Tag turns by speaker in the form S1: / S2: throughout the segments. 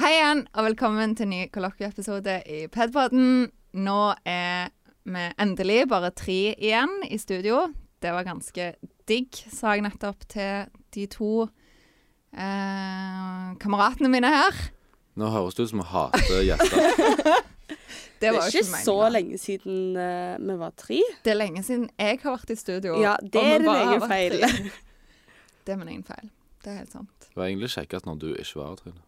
S1: og velkommen til en ny kollokvieepisode i Pedpodden. Nå er vi endelig bare tre igjen i studio. Det var ganske digg, sa jeg nettopp til de to eh, kameratene mine her.
S2: Nå høres det ut som vi hater gjester.
S1: Det
S3: Det
S1: var
S3: er
S1: jo
S3: ikke
S1: ikke
S3: så
S1: meningen.
S3: lenge siden eh, vi var tre.
S1: Det er lenge siden jeg har vært i studio.
S3: Ja, det
S1: og vi
S3: er din
S1: bare har
S3: egen
S1: vært
S3: feil.
S1: tre. Det er min egen feil. Det er helt sant.
S2: Det var egentlig kjekkest når du ikke var her, Trine.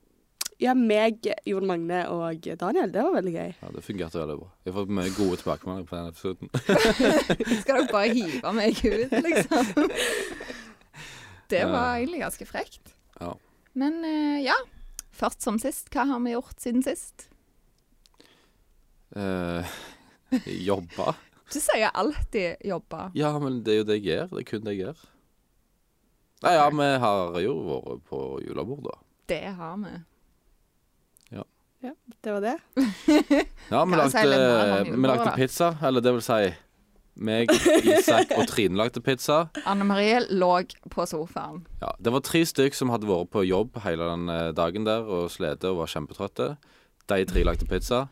S3: Ja, meg, Jon Magne og Daniel. Det var veldig gøy.
S2: Ja, det fungerte veldig bra. Jeg har fått mye gode tilbakemeldinger på den episoden.
S1: Skal dere bare hive meg ut, liksom? Det var
S2: Ja.
S1: egentlig ganske frekt.
S2: Ja.
S1: Men eh, ja, først som sist. Hva har vi gjort siden sist?
S2: Eh, jobba?
S1: Du sier alltid 'jobba'.
S2: Ja, men det er jo det jeg gjør. Det er kun det jeg gjør. Nei, ja, vi har jo vært på julebord, da.
S1: Det har vi.
S3: Det var det.
S2: Ja, vi
S1: Kan jeg si litt mer
S2: lagde,
S1: om
S2: vi
S1: julebord, da?
S2: lagde pizza. Eller det vil si meg, Isak og Trine lagde pizza.
S1: Anne Marie lå på sofaen.
S2: Ja, Det var tre stykk som hadde vært på jobb hele den eh, dagen der og slete og var kjempetrøtte. De tre lagde pizza.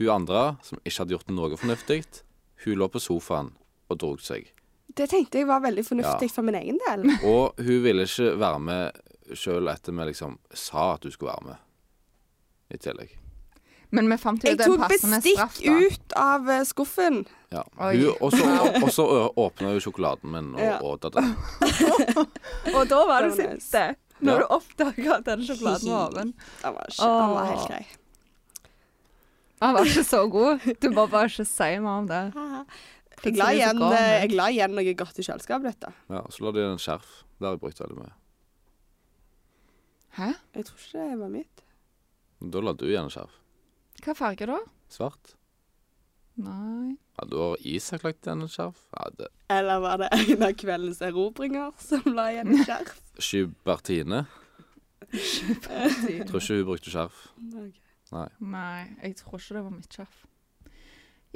S2: Hun andre, som ikke hadde gjort noe fornuftig, hun lå på sofaen og drog seg.
S3: Det tenkte jeg var veldig fornuftig
S2: Ja.
S3: for min egen del.
S2: Og hun ville ikke være med sjøl etter vi liksom sa at hun skulle være med. I tillegg.
S1: Men vi fant jo
S3: Jeg
S1: den
S3: tok
S1: passende straff,
S3: bestikk
S1: da.
S3: ut av eh, skuffen.
S2: Ja.
S1: Oi.
S2: Hun- Og så og så ø- åpna hun sjokoladen min og
S3: Ja.
S2: åt den.
S1: Og da var du
S3: Det var nice.
S1: sinte. Når
S2: Ja.
S1: du oppdaga at den sjokoladen var åpen.
S3: Den var, ikke, den var
S1: Åh.
S3: helt grei.
S1: Han var ikke så god. Du må bare ikke si mer om det.
S3: Jeg la,
S1: Plutselig så
S3: igjen,
S1: går
S3: eh,
S1: den.
S3: jeg la igjen noe godt i kjøleskapet ditt. da.
S2: Ja, og så la de igjen en skjerf. Det har jeg brukt veldig mye.
S1: Hæ?
S3: Jeg tror ikke det var mitt.
S2: Da la du igjen en skjerf.
S1: Hva farge da?
S2: Svart.
S1: Nei
S2: Ja, da har Isak lagt igjen en skjerf. Ja, det
S3: Eller var det en av kveldens erobringer som la igjen et skjerf?
S2: Skybertine. Tror ikke hun brukte skjerf.
S3: Ok.
S1: Nei, jeg tror ikke det var mitt sjef.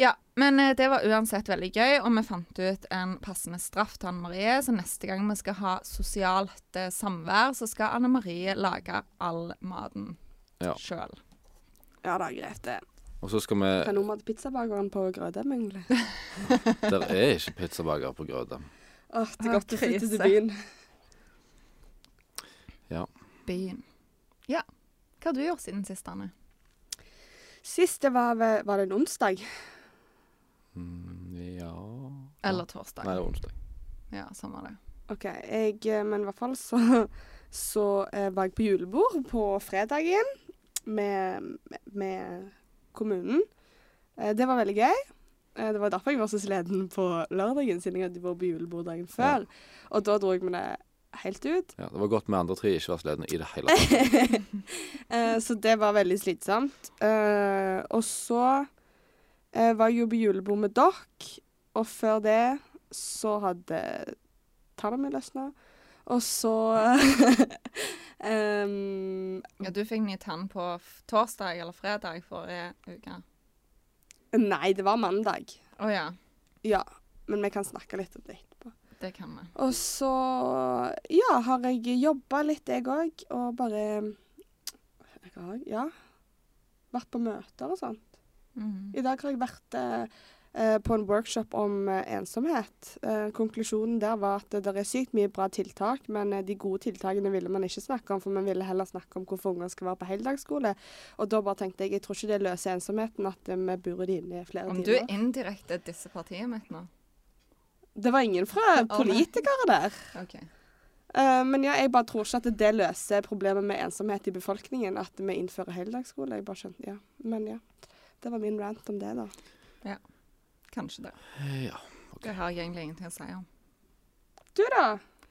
S1: Ja, men eh, det var uansett veldig gøy, og vi fant ut en passende straff til Anne Marie. Så neste gang vi skal ha sosialt eh, samvær, så skal Anne Marie lage all maten
S2: Ja.
S1: sjøl.
S3: Ja da, greit det.
S2: Og så skal vi
S1: Eh.
S3: Kan noen hadde pizzabakeren på Grødem, egentlig?
S2: Der er ikke pizzabaker på Grøde.
S3: Åh, det er
S1: Åh,
S3: godt å flytte
S1: krise.
S3: til byen.
S1: Byen. Ja. Hva har du gjort siden sist, Anne?
S3: Sist det var, ved- var det en onsdag.
S2: Mm, ja
S1: Eller
S2: Nei,
S1: torsdag?
S2: det er onsdag.
S1: Ja, sånn var det.
S3: OK. Jeg, eh, men i hvert fall så, så eh, var jeg på julebord på fredagen med, med kommunen. Eh, det var veldig gøy. Eh, det var derfor jeg var så sliten på lørdagen, siden jeg hadde vært på julebord dagen før. Og da dro jeg meg det helt ut.
S2: Ja, det var godt vi andre tre ikke var sledne i det hele tatt.
S3: Eh, så det var veldig slitsomt. Eh, og så eh, var jeg jo på julebord med dere, og før det så hadde tanna mi løsna. Og så em,
S1: Ja, Du fikk ny tann på f torsdag eller fredag forrige uke.
S3: Nei, det var mandag.
S1: Å ja.
S3: Ja. Men vi kan snakke litt om det etterpå.
S1: Det kan vi.
S3: Og så, ja, har jeg jobba litt, jeg òg, og bare Jeg har, ja. Vært på møter og sånn.
S1: Mhm.
S3: I dag har jeg vært eh, eh, på en workshop om eh, ensomhet. Eh, konklusjonen der var at det er sykt mye bra tiltak, men eh, de gode tiltakene ville man ikke snakke om, for man ville heller snakke om hvorfor unger skal være på heldagsskole. Og da bare tenkte jeg jeg tror ikke det løser ensomheten at eh, vi bor det inne i flere
S1: Om du
S3: timer.
S1: indirekte disser partiet mitt nå?
S3: Det var ingen fra
S1: nei.
S3: politikere der.
S1: OK.
S3: Eh, men ja, jeg bare tror ikke at det løser problemet med ensomhet i befolkningen, at vi innfører heldagsskole. Jeg bare skjønte, ja. Men ja. Det var min rant om det, da.
S1: Kanskje det.
S2: Ja.
S1: Det har jeg egentlig ingenting å si om.
S3: Du, da?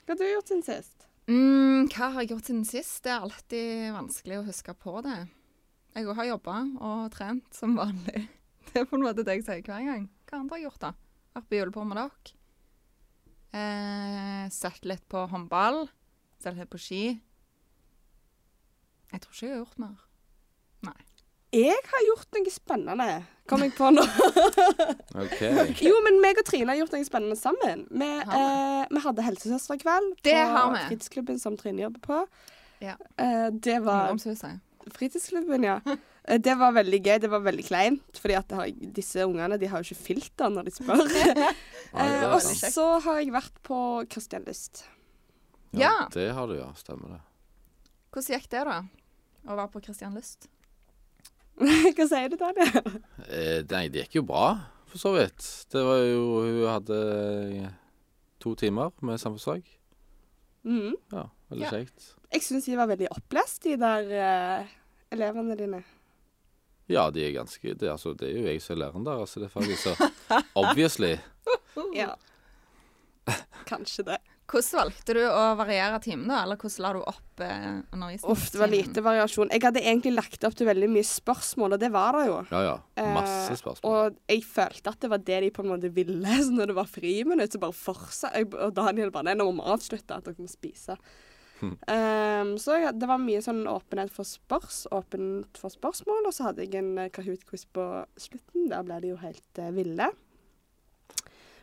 S3: Hva har du gjort siden sist?
S1: Mm, hva har jeg gjort siden sist? Det er alltid vanskelig å huske på det. Jeg òg har jobba og trent som vanlig. Det er på en måte det jeg sier hver gang. Hva andre har jeg gjort, da? Vært på julebord med dere. Eh, sett litt på håndball. Sett litt på ski. Jeg tror ikke jeg har gjort mer.
S3: Jeg har gjort noe spennende, kom jeg på nå.
S2: OK.
S3: Jo, men meg og Trine har gjort noe spennende sammen. Vi, eh,
S1: Har
S3: vi hadde helsesøsterkveld på
S1: Det har vi.
S3: fritidsklubben som Trine jobber på.
S1: Ja.
S3: Eh, det var
S1: Ungdomshuset.
S3: fritidsklubben, ja. Eh, Det var veldig gøy. Det var veldig kleint, fordi at det har, disse ungene de har jo ikke filter når de spør.
S2: Nei, det
S3: Eh,
S2: er
S3: og
S2: sant.
S3: så har jeg vært på Christian Lyst.
S2: Ja,
S1: Ja.
S2: det har du, ja. Stemmer det.
S1: Hvordan gikk det, da? Å være på Christian Lyst?
S3: Hva sier du, Daniel?
S2: Eh, nei, det gikk jo bra, for så vidt. Det var jo Hun hadde eh, to timer med samfunnsfag.
S3: Mm.
S2: Ja, veldig
S1: Ja.
S2: kjekt.
S3: Jeg syns de var veldig opplest, de der eh, elevene dine.
S2: Ja, de er ganske det, er altså, det er jo jeg som er læreren der, altså. Det er faktisk så Obviously.
S3: Ja. Kanskje det.
S1: Hvordan valgte du å variere timen, da? Eller hvordan la du opp eh, undervisningstimen?
S3: Uff, det var lite variasjon. Jeg hadde egentlig lagt opp til veldig mye spørsmål, og det var det jo.
S2: Ja, ja.
S3: Eh,
S2: Masse spørsmål.
S3: Og jeg følte at det var det de på en måte ville. Så når det var friminutt, så bare fortsatte jeg. Og Daniel bare Nei, nå må vi avslutte, at dere må spise.
S2: Hm.
S3: Ehm, så jeg, det var mye sånn åpenhet for spørs, åpent for spørsmål. Og så hadde jeg en eh, Kahoot-quiz på slutten. Der ble de jo helt eh, ville.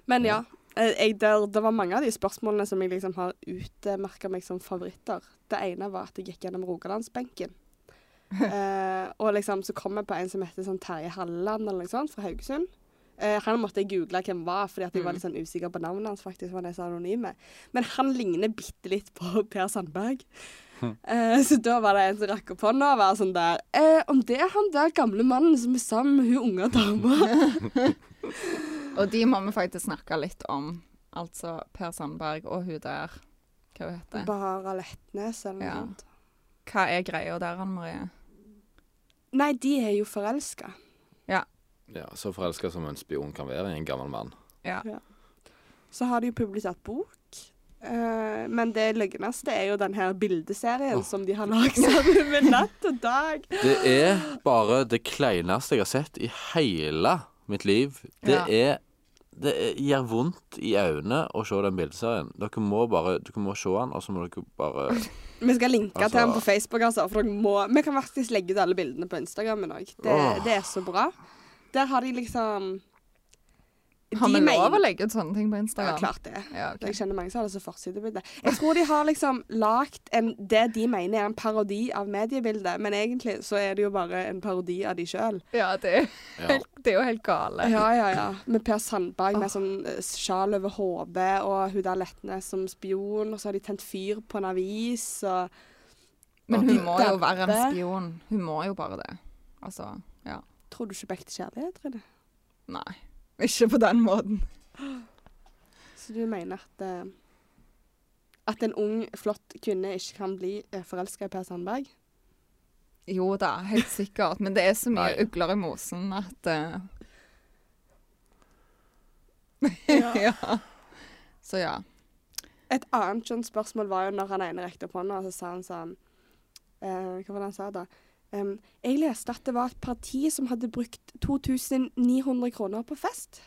S3: Men ja. eh, Jeg, der, det var mange av de spørsmålene som jeg liksom har utmerka meg som favoritter. Det ene var at jeg gikk gjennom Rogalandsbenken. Eh, og liksom så kom jeg på en som heter sånn Terje Halleland eller noe sånt, fra Haugesund. Eh, han måtte jeg google hvem var, fordi at jeg var litt sånn usikker på navnet hans. faktisk, for han er så anonyme. Men han ligner bitte litt på Per Sandberg. Eh, så da var det en som rakk opp hånda og var sånn der eh, Om det er han der gamle mannen som er sammen med hun unge dama?
S1: Og de må vi faktisk snakke litt om. Altså Per Sandberg og hun der. Hva hun heter
S3: Bara Letnes eller noe
S1: Ja.
S3: sånt.
S1: Hva er greia der, Anne Marie?
S3: Nei, de er jo forelska.
S2: Ja, Så forelska som en spion kan være i en gammel mann.
S1: Ja.
S3: Så har de jo publisert bok. Eh, men det løgneste er jo den her bildeserien som de har lagd sammen med Natt og Dag.
S2: Det er bare det kleineste jeg har sett i hele mitt liv. Det
S1: Ja.
S2: er Det er- gjør vondt i øynene å se den bildeserien. Dere må bare Dere må se den, og så må dere bare
S3: Vi skal linke
S2: Altså-
S3: til den på Facebook, altså, for dere må Vi kan faktisk legge ut alle bildene på Instagrammen òg. Det,
S2: Åh.
S3: det er så bra. Der har de liksom
S1: Har vi lov å
S3: å
S1: legge ut sånne ting på
S3: Ja,
S1: Instagram?
S3: klart det.
S1: Ja, ok.
S3: Jeg kjenner mange som har det som forsidebilde. Jeg tror de har liksom lagd en- det de mener er en parodi av mediebildet, men egentlig så er det jo bare en parodi av de sjøl.
S1: ja, det, er,
S2: Ja.
S1: det er jo helt gale.
S3: Ja, ja, ja. Med Per Sandberg med sånn eh, sjal over hodet, og hun der Letnes som spion, og så har de tent fyr på en avis, og
S1: Men hun må jo
S3: Dette-
S1: være en spion. Hun må jo bare det. Altså, ja.
S3: Tror du ikke på ekte kjærlighet, Rune?
S1: Nei. Ikke på den måten.
S3: Så du mener at eh, At en ung, flott kvinne ikke kan bli forelska i Per Sandberg?
S1: Jo da, helt sikkert. Men det er så mye
S2: Nei.
S1: ugler i mosen at eh,
S3: Ja.
S1: Ja. Så ja.
S3: Et annet sånt spørsmål var jo når han ene rekte opp hånda, og så sa han sånn eh, Hva var det han sa da? Em, jeg leste at det var et parti som hadde brukt 2900 kroner på fest.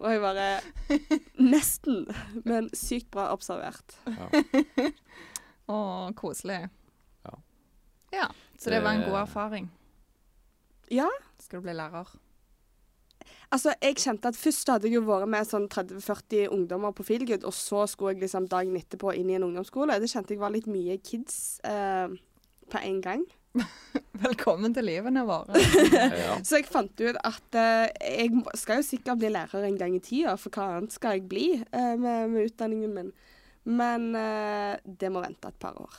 S3: og jeg bare Nesten, men sykt bra observert.
S1: Å, koselig.
S2: Ja.
S1: Ja, Så det var en
S2: Det-
S1: god erfaring.
S3: Ja,
S1: Skal du bli lærer?
S3: Altså, jeg kjente at Først hadde jeg jo vært med sånn 30-40 ungdommer på Feelgood, og så skulle jeg liksom dagen etterpå inn i en ungdomsskole. Det kjente jeg var litt mye kids eh, på en gang.
S1: Velkommen til livene våre.
S2: Ja.
S3: Så jeg fant ut at eh, jeg må- skal jo sikkert bli lærer en gang i tida, for hva annet skal jeg bli eh, med, med utdanningen min? Men eh, det må vente et par år.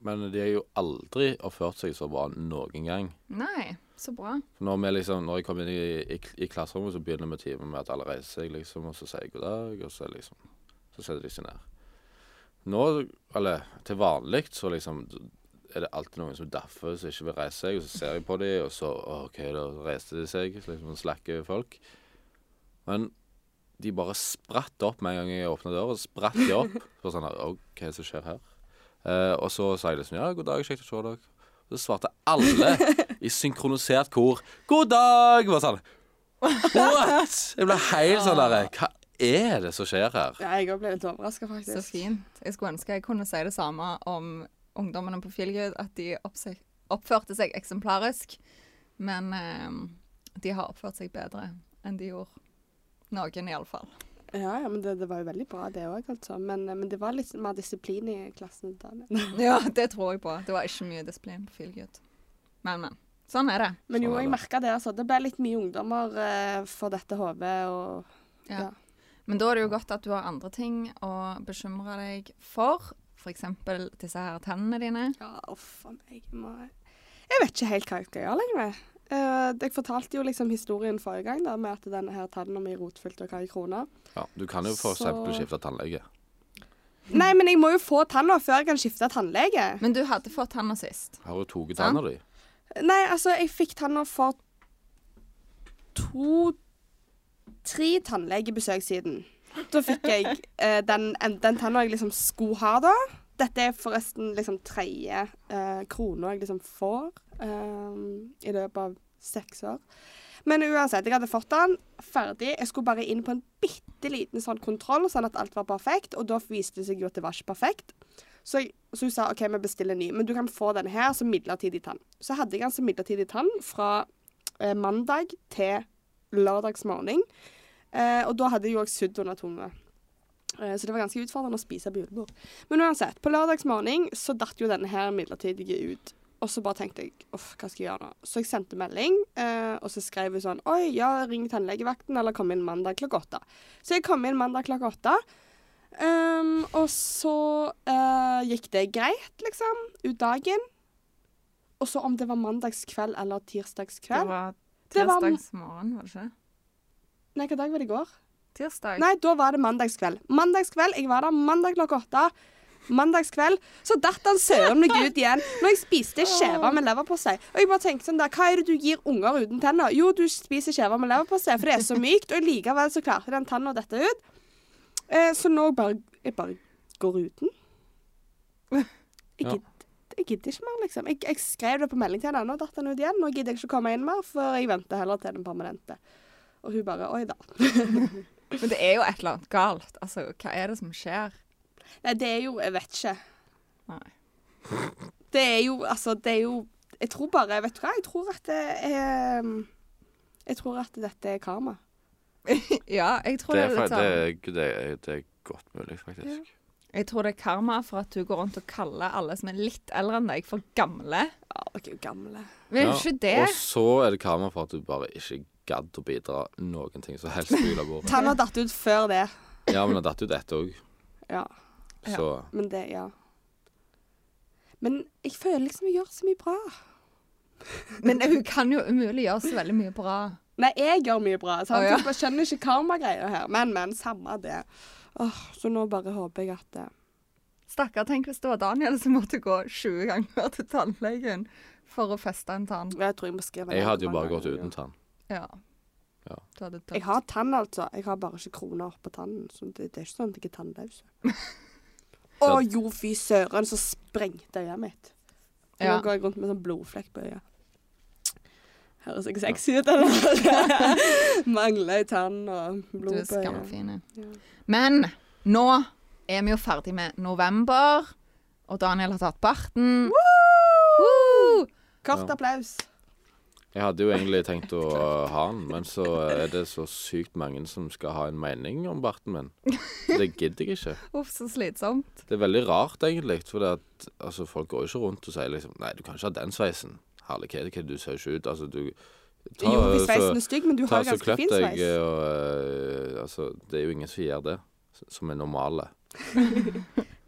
S2: Men de har jo aldri oppført seg så bra noen gang.
S1: Nei, så bra.
S2: For Når, vi liksom, når jeg kommer inn i, i, i klasserommet, så begynner vi timen med at alle reiser seg, liksom, og så sier jeg god dag, og så, liksom, så setter de seg ned. Nå, eller til vanlig, så liksom er det alltid noen som daffer som ikke vil reise seg, og så ser jeg på dem, og så «Å, OK, da reiste de seg, så liksom slakker folk. Men de bare spratt opp med en gang jeg åpna døra, så spratt de opp. For sånn her, «Å, hva er det som skjer her? Eh, og så sa jeg liksom ja, god dag, kjekt å se dere. Og så svarte alle i synkronisert kor 'God dag!' var sånn. What?! Jeg ble helt sånn der Hva er det som skjer her?
S3: Ja, jeg òg ble litt overraska, faktisk.
S1: Så fint. Jeg skulle ønske jeg kunne si det samme om ungdommene på Feelgood, at de oppse- oppførte seg eksemplarisk. Men eh, de har oppført seg bedre enn de gjorde. Noen, iallfall.
S3: Ja, ja, men det, det var jo veldig bra, det òg, altså. Men, men det var litt mer disiplin i klassen. Daniel.
S1: Ja, det tror jeg på. Det var ikke mye disiplin på Feelgood. Men, men. Sånn er det.
S3: Men jo,
S2: Sånn er
S3: jeg
S2: det.
S3: merka det. altså. Det ble litt mye ungdommer eh, for dette HV. Og
S1: Ja.
S3: Ja.
S1: Men da er det jo godt at du har andre ting å bekymre deg for. F.eks. disse her tennene dine.
S3: ja, uff a meg. jeg Må... Jeg vet ikke helt hva jeg skal gjøre lenger. Uh, jeg fortalte jo liksom historien forrige gang da, med at denne her tannen mi rotfylte og hva i kroner.
S2: Ja, du kan jo for
S3: Så-
S2: eksempel skifte tannlege.
S3: Nei, men jeg må jo få tanna før jeg kan skifte tannlege.
S1: Men du hadde fått tanna sist.
S2: Har jo tatt tanna di.
S3: Nei, altså, jeg fikk tanna for to Tre tannlegebesøk siden. Da fikk jeg eh, den, en- den tanna jeg liksom skulle ha da. Dette er forresten liksom tredje eh, krona jeg liksom får eh, i løpet av seks år. Men uansett, jeg hadde fått den ferdig. Jeg skulle bare inn på en bitte liten sånn kontroll, sånn at alt var perfekt. Og da viste det seg jo at det var ikke perfekt. Så, jeg, så hun sa OK, vi bestiller en ny, men du kan få denne her som midlertidig tann. Så hadde jeg den som midlertidig tann fra eh, mandag til lørdags morgen. Eh, og da hadde jeg jo også sydd under tunga. Eh, så det var ganske utfordrende å spise på julebord. Men uansett, på lørdags morgen så datt jo denne her midlertidige ut. Og så bare tenkte jeg uff, hva skal jeg gjøre nå? Så jeg sendte melding, eh, og så skrev hun sånn Oi, ja, ring tannlegevakten, eller kom inn mandag klokka åtte. Så jeg kom inn mandag klokka åtte. ehm, og så eh, gikk det greit, liksom, ut dagen. Og så om det var mandagskveld eller
S1: Det
S3: tirsdagskveld
S1: var
S3: Det var-
S1: tirsdagsmorgen, var det ikke?
S3: Nei, hva dag var det i går?
S1: Tirsdag.
S3: Nei, da var det mandagskveld. Mandagskveld, Jeg var der mandag klokka åtte. Mandagskveld. Så datt han søren meg ut igjen når jeg spiste skjeve med leverpostei. Og jeg bare tenkte sånn der, hva er det du gir unger uten tenner? Jo, du spiser skjeve med leverpostei, for det er så mykt. Og likevel så klarte den tanna dette ut. Eh, så nå bare Jeg bare går uten. Jeg
S2: Ja.
S3: gidder, jeg gidder ikke mer, liksom. Jeg, jeg skrev det på melding til henne, nå datt han ut igjen. Nå gidder jeg ikke å komme inn mer, for jeg venter heller til den permanente. Og hun bare Oi da.
S1: Men det er jo et eller annet galt. Altså, hva er det som skjer?
S3: Nei, det er jo Jeg vet ikke.
S1: Nei.
S3: Det er jo Altså, det er jo Jeg tror bare Vet du hva? Jeg tror at det er um, Jeg tror at dette er karma.
S1: Ja, jeg tror
S2: Det
S1: det, er
S2: er, fa-
S1: litt
S2: det,
S1: sånn
S2: er- det, er- det er godt mulig, faktisk.
S1: Jeg tror det er karma for at du går rundt og kaller alle som er litt eldre enn deg, for gamle.
S3: Ja, dere er jo gamle.
S1: Men er
S2: Ja,
S1: jo ikke det?
S2: Og så er det karma for at du bare ikke gadd å bidra noen ting som helst på julebordet.
S3: Tanna datt ut før det.
S2: Ja, men det datt ut ett òg,
S3: Ja.
S2: så
S3: Men det Ja. Men jeg føler liksom jeg gjør så mye bra.
S1: Men hun kan jo umulig gjøre så veldig mye bra.
S3: Nei, jeg gjør mye bra. Sant?
S1: Å, ja.
S3: Jeg bare skjønner ikke karmagreier her. Men, men. Samme det. Åh, så nå bare håper jeg at eh,
S1: Stakkar, tenk hvis det var Daniel som måtte gå 20 ganger til tannlegen for å feste en tann.
S3: Jeg tror jeg må skrive
S2: Jeg
S3: ned
S2: hadde jo
S3: hvor
S2: bare
S3: mange
S2: gått
S3: ganger.
S2: uten tann.
S1: Ja.
S2: Ja.
S1: Du hadde dødd.
S3: Jeg har tann, altså. Jeg har bare ikke kroner på tannen. Så det, det er ikke sånn at jeg er tannløs. Å jo, fy søren, så sprengte øyet mitt. Og
S1: Ja.
S3: Nå går jeg rundt med sånn blodflekk på øyet. Høres ikke sexy ut, eller? Mangler ei tann og
S1: Du
S3: blod
S1: er
S3: på øyet.
S1: skamfine.
S3: Ja.
S1: Men nå er vi jo ferdig med november, og Daniel har tatt barten. Woo!
S3: Kort
S2: Ja.
S3: applaus.
S2: Jeg hadde jo egentlig tenkt å eh, ha den, men så er det så sykt mange som skal ha en mening om barten min. Det gidder jeg ikke.
S1: Uff, så slitsomt.
S2: Det er veldig rart, egentlig. For det at, altså, folk går jo ikke rundt og sier liksom Nei, du kan ikke ha den sveisen. Herlighet, hva du ser ikke ut. Altså, du ta,
S3: jo, hvis
S2: så-
S3: sveisen er stygg, men du
S2: ta
S3: har
S2: så
S3: ganske
S2: klipp
S3: fin
S2: deg,
S3: sveis.
S2: og eh, Altså, det er jo ingen som gjør det. s- Som er normale.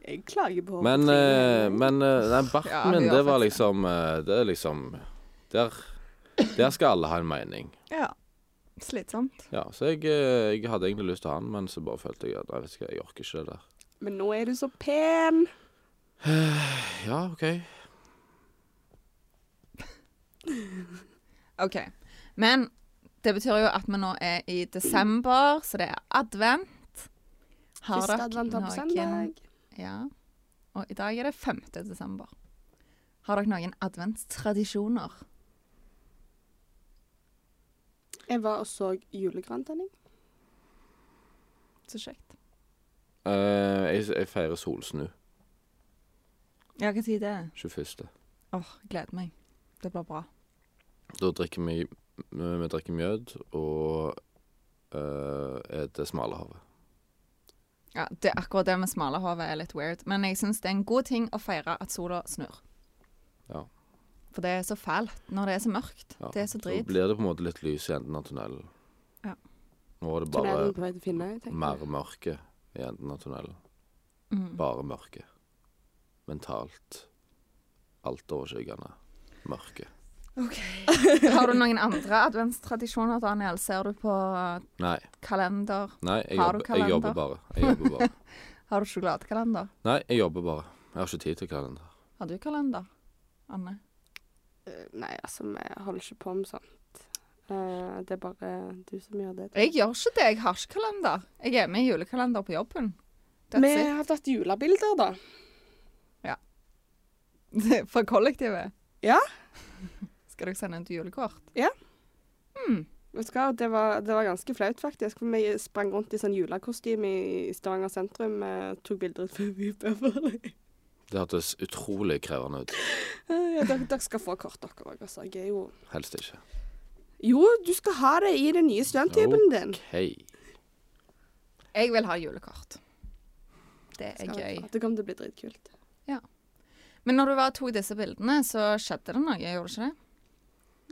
S3: Jeg klager på
S2: Men, eh,
S3: hårtrynet.
S2: men eh, nei,
S1: Ja,
S2: barten
S1: det
S2: min,
S1: gjør
S2: det var
S1: faktisk
S2: liksom eh, Det er liksom Der, der skal alle ha en mening.
S1: Ja. Slitsomt.
S2: Ja, så jeg, eh, jeg hadde egentlig lyst til å ha den, men så bare følte jeg at nei, vet du hva, jeg orker ikke det der.
S3: men nå er du så pen.
S2: Ja, OK.
S1: OK. Men det betyr jo at vi nå er i desember, så det er advent. Har
S3: Første
S1: dere
S3: advent er på
S1: noen-
S3: søndag.
S1: Ja. Og i dag er det 5. desember. Har dere noen adventstradisjoner?
S3: Jeg var og så julegrantenning.
S1: Så kjekt.
S2: Eh, jeg, jeg feirer solsnu
S1: Ja, hva tid er det?
S2: 21.
S1: Åh, gleder meg. Det blir bra.
S2: Da drikker vi, eh, vi drikker mjød og uh, eter smalahavet.
S1: Ja, det, akkurat det med smalahove er litt weird, men jeg syns det er en god ting å feire at sola snur.
S2: Ja.
S1: For det er så fælt når det er så mørkt.
S2: Ja,
S1: Det er så
S2: Så
S1: drit.
S2: blir det på en måte litt lys i enden av tunnelen.
S1: Ja.
S2: Nå er det bare
S3: Tunnelen på vei til Finnøy, tenker jeg.
S2: mer mørke i enden av tunnelen.
S1: Mm.
S2: Bare mørke. Mentalt. Altoverskyggende mørke.
S1: Har du noen andre adventstradisjoner, Daniel? Ser du på
S2: Nei.
S1: kalender?
S2: Nei, jeg
S1: Har du
S2: jobber, jeg jobber
S1: kalender?
S2: bare. Jeg jobber bare.
S1: Har du sjokoladekalender?
S2: Nei, jeg jobber bare. Jeg har ikke tid til kalender.
S1: Har du kalender, Anne?
S3: Eh, Nei, altså, vi holder ikke på med sånt. Eh, det er bare du som gjør det.
S1: Jeg gjør ikke det. Jeg har ikke kalender. Jeg er med i julekalender på jobben.
S3: Vi
S1: That's
S3: har tatt julebilder, da.
S1: it. For kollektivet.
S3: Ja.
S1: Skal dere sende ut julekort?
S3: Vet du hva, det var, det var ganske flaut, faktisk. For vi sprang rundt i sånn julekostyme i Stavanger sentrum. eh, tok bilder ut forbi Beverly.
S2: Det hørtes utrolig krevende ut.
S3: Eh, Ja, dere, dere skal få kort, dere òg. Altså. Jeg er jo
S2: Helst ikke.
S3: Jo, du skal ha det i den nye studenttuben din.
S2: Hei.
S1: Jeg vil ha julekort. Det er
S3: Skal vi
S1: gøy.
S3: få. Det kommer til å bli dritkult.
S1: Men når du var to i disse bildene, så skjedde det noe, gjorde det ikke det?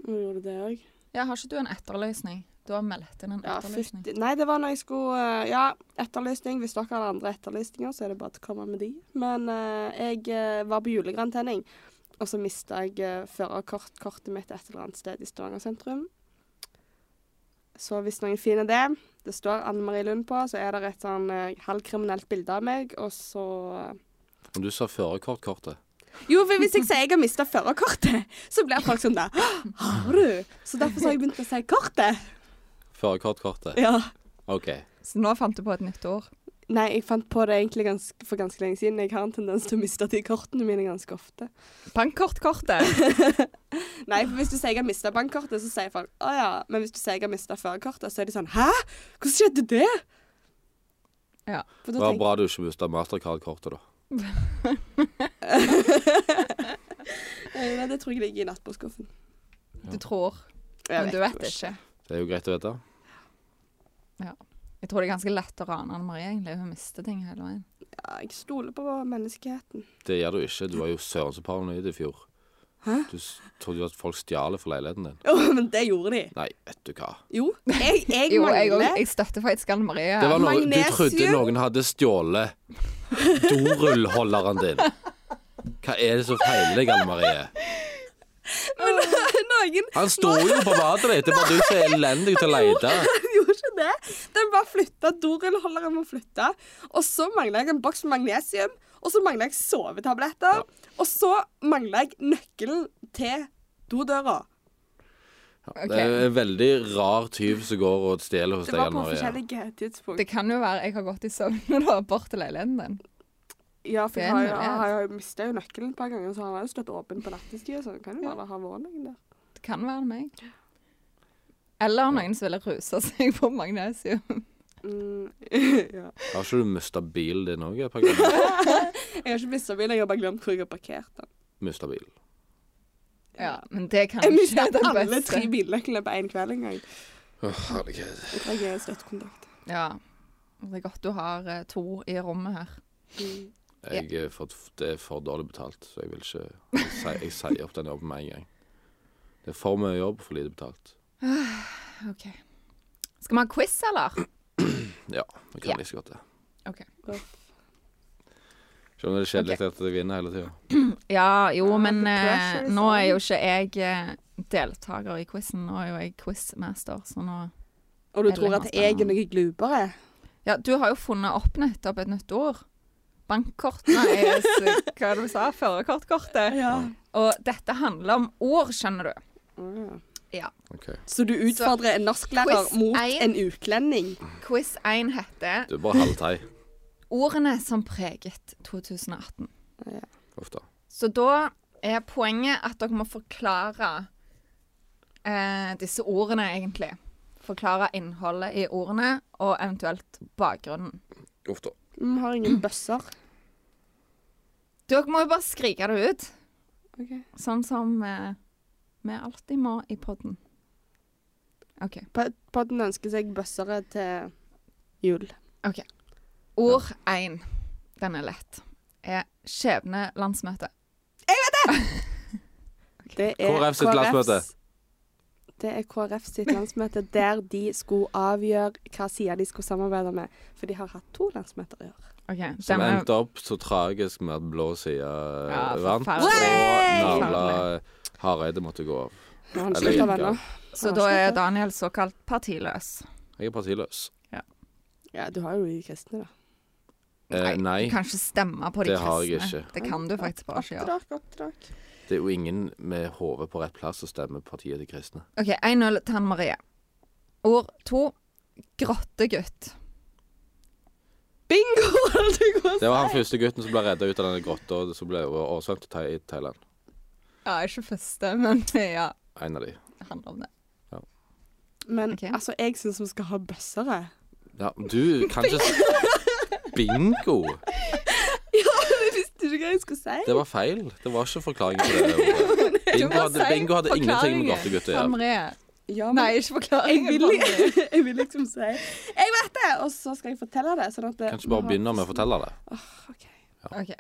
S3: Nå gjorde du det òg.
S1: Ja, har ikke du en etterløsning? Du har meldt inn en
S3: Ja,
S1: etterløsning.
S3: fytti- Nei, det var når jeg skulle eh, Ja, etterlysning. Hvis dere har andre etterlysninger, så er det bare til å komme med de. Men eh, jeg eh, var på julegrantenning, og så mista jeg eh, førerkortkortet mitt et eller annet sted i Stavanger sentrum. Så hvis noen finner det Det står Anne Marie Lund på, så er det et sånn eh, halvkriminelt bilde av meg, og så eh,
S2: Men du sa førerkortkortet.
S3: Jo, for hvis jeg sier jeg har mista førerkortet, så blir folk sånn der «Hå, Har du? Så derfor så har jeg begynt å si kortet.
S2: Førerkortkortet.
S3: Ja.
S2: OK.
S1: Så nå fant du på et nytt ord.
S3: Nei, jeg fant på det egentlig ganske, for ganske lenge siden. Jeg har en tendens til å miste de kortene mine ganske ofte.
S1: Bankkortkortet.
S3: Nei, for hvis du sier jeg har mista bankkortet, så sier folk å ja. Men hvis du sier jeg har mista førerkortet, så er de sånn hæ? Hvordan skjedde det?
S1: Ja.
S3: For da
S2: Det var
S3: tenker,
S2: bra du ikke mista Mastercard-kortet, da.
S3: jeg, nei, det tror jeg ligger i nattbordskuffen.
S1: Du tror,
S3: Jeg
S1: men du
S3: vet
S1: vet ikke.
S2: Det er jo greit å vite.
S1: Jeg tror det er ganske lett å rane Anne Marie, egentlig. Hun mister ting hele veien.
S3: Ja, jeg stoler på menneskeheten.
S2: Det gjør du ikke. Du var jo søren så paranoid i fjor. Du s- trodde jo at folk stjal fra leiligheten din.
S3: Å, men det gjorde de.
S2: Nei, vet du hva.
S3: Jo. Jeg, jeg
S1: Jo, jeg,
S3: mangler
S1: også- jeg støtter faktisk Anne Marie.
S2: Det var noe, du
S3: Magnesium?
S2: trodde noen hadde stjålet dorullholderen din. Hva er det som feiler deg, Anne Marie?
S3: Men noen
S2: Han sto jo på badet ditt. Det er bare du som er elendig til å lete.
S3: Den gjorde ikke det. Den bare flytta. Dorullholderen må flytte. Og så mangla jeg en boks med magnesium. Og så mangla jeg sovetabletter. Og så mangla jeg nøkkelen til dodøra.
S2: Det er en veldig rar tyv som går og stjeler hos
S3: Det
S2: deg,
S3: var
S2: Anne
S3: på
S2: Marie.
S3: forskjellige tidspunkt.
S1: Det kan jo være jeg har gått i søvne da, bort til leiligheten din.
S3: Ja, for
S1: det
S3: jeg
S1: er
S3: har,
S1: en
S3: jo-
S1: mulighet.
S3: har jo mista jo nøkkelen et par ganger, så han har jo stått åpen på nattestid. Så det kan jo bare ha vært noen der.
S1: Det kan være meg. Eller noen som ville ruse seg på magnesium.
S3: Mm, ja.
S2: Har ikke du mista bilen din òg et par ganger?
S3: Jeg har ikke mista bilen, jeg har bare glemt hvor jeg har parkert den.
S2: Mista bilen.
S1: Ja, men det kan
S3: Jeg
S1: ikke
S3: mista
S1: være den
S3: alle tre
S1: beste.
S3: bilnøklene på én kveld en gang.
S2: Åh, herlighet.
S3: Jeg trenger støttekontakt.
S1: Ja. Det er godt du har eh, to i rommet her.
S3: Mm.
S2: Jeg er for, det er for dårlig betalt, så jeg vil ikke Jeg sier- jeg sier opp den jobben med en gang. Det er for mye jobb, for lite betalt.
S1: OK. Skal vi ha quiz, eller?
S2: Ja, det
S1: Ja.
S2: kan like så godt det.
S1: OK.
S2: Selv om det er kjedelig at jeg vinner hele tida.
S1: Ja, jo,
S3: Ja,
S1: men
S3: the pressure
S1: eh,
S3: is
S1: nå
S3: on.
S1: er jo ikke jeg eh, deltaker i quizen. Nå er jo jeg quizmaster, så nå
S3: Og du
S1: Eller
S3: tror at
S1: masse
S3: jeg er
S1: annet.
S3: noe glupere?
S1: Ja, du har jo funnet opp nettopp et nytt ord. Bankkort Nei, jeg s- hva er det du sa? Førerkortkortet.
S3: Ja.
S1: Og dette handler om ord, skjønner du.
S2: Ok.
S3: Så du utfordrer en norsklærer
S1: Quiz
S3: mot
S1: én.
S3: en utlending?
S1: Quiz 1 heter
S2: Du er bare halvtei.
S1: Ordene som preget 2018.
S2: Ofte.
S1: Så da er poenget at dere må forklare eh, disse ordene, egentlig. Forklare innholdet i ordene, og eventuelt bakgrunnen.
S2: Ofte.
S3: Vi Mm, har ingen bøsser.
S1: Dere må jo bare skrike det ut,
S3: Ok.
S1: sånn som eh, vi alltid må i podden. OK.
S3: Pod- Podden ønsker seg bøssere til jul.
S1: Ord én, den er lett, er skjebnelandsmøte.
S3: Det er
S2: KrF sitt landsmøte.
S3: Det er KrF sitt landsmøte der de skulle avgjøre hva side de skulle samarbeide med. For de har hatt to landsmøter i år.
S1: OK.
S2: Som
S1: denne-
S2: endte opp så tragisk med at blå side
S1: Ja,
S2: eh, vant.
S1: forferdelig.
S2: Og navla Hareide måtte gå av.
S3: Og han
S2: Eller
S3: slutta
S2: ikke.
S3: ennå.
S1: Så da er Daniel såkalt partiløs.
S2: Jeg er partiløs.
S3: Ja, du har jo de kristne, da.
S2: Eh, nei,
S1: Du kan ikke stemme på de
S2: Det har jeg
S1: kristne.
S2: ikke.
S1: Det kan du faktisk bare ikke gjøre.
S3: Oppdrag, oppdrag.
S2: det er jo ingen med hodet på rett plass som stemmer partiet til kristne.
S1: OK, 1-0 til Anne Marie. Ord to. Grottegutt.
S3: Bingo! Det går
S2: Det var han første gutten som ble redda ut av denne grotta og som ble oversvømt til Thai- i Thailand.
S1: Ja, ikke første, men ja.
S2: En av de.
S1: Det handler om det.
S3: Men
S1: Ok.
S3: altså, jeg syns vi skal ha bøssere.
S2: Ja, du kan ikke s- Bingo!
S3: Jeg visste ikke hva jeg skulle si.
S2: Det var feil. Det var ikke forklaring på det. ordet. Bingo hadde, bingo hadde ingenting med grottegutt å
S1: Anne
S2: gjøre.
S1: Marie.
S3: Ja,
S1: Nei,
S3: men
S1: ikke forklaringen.
S3: jeg vil,
S1: Anne Marie.
S3: jeg vil liksom si Jeg vet det! Og så skal jeg fortelle det. Sånn at det
S2: Kan ikke bare begynne med å fortelle det.
S3: OK.
S1: OK.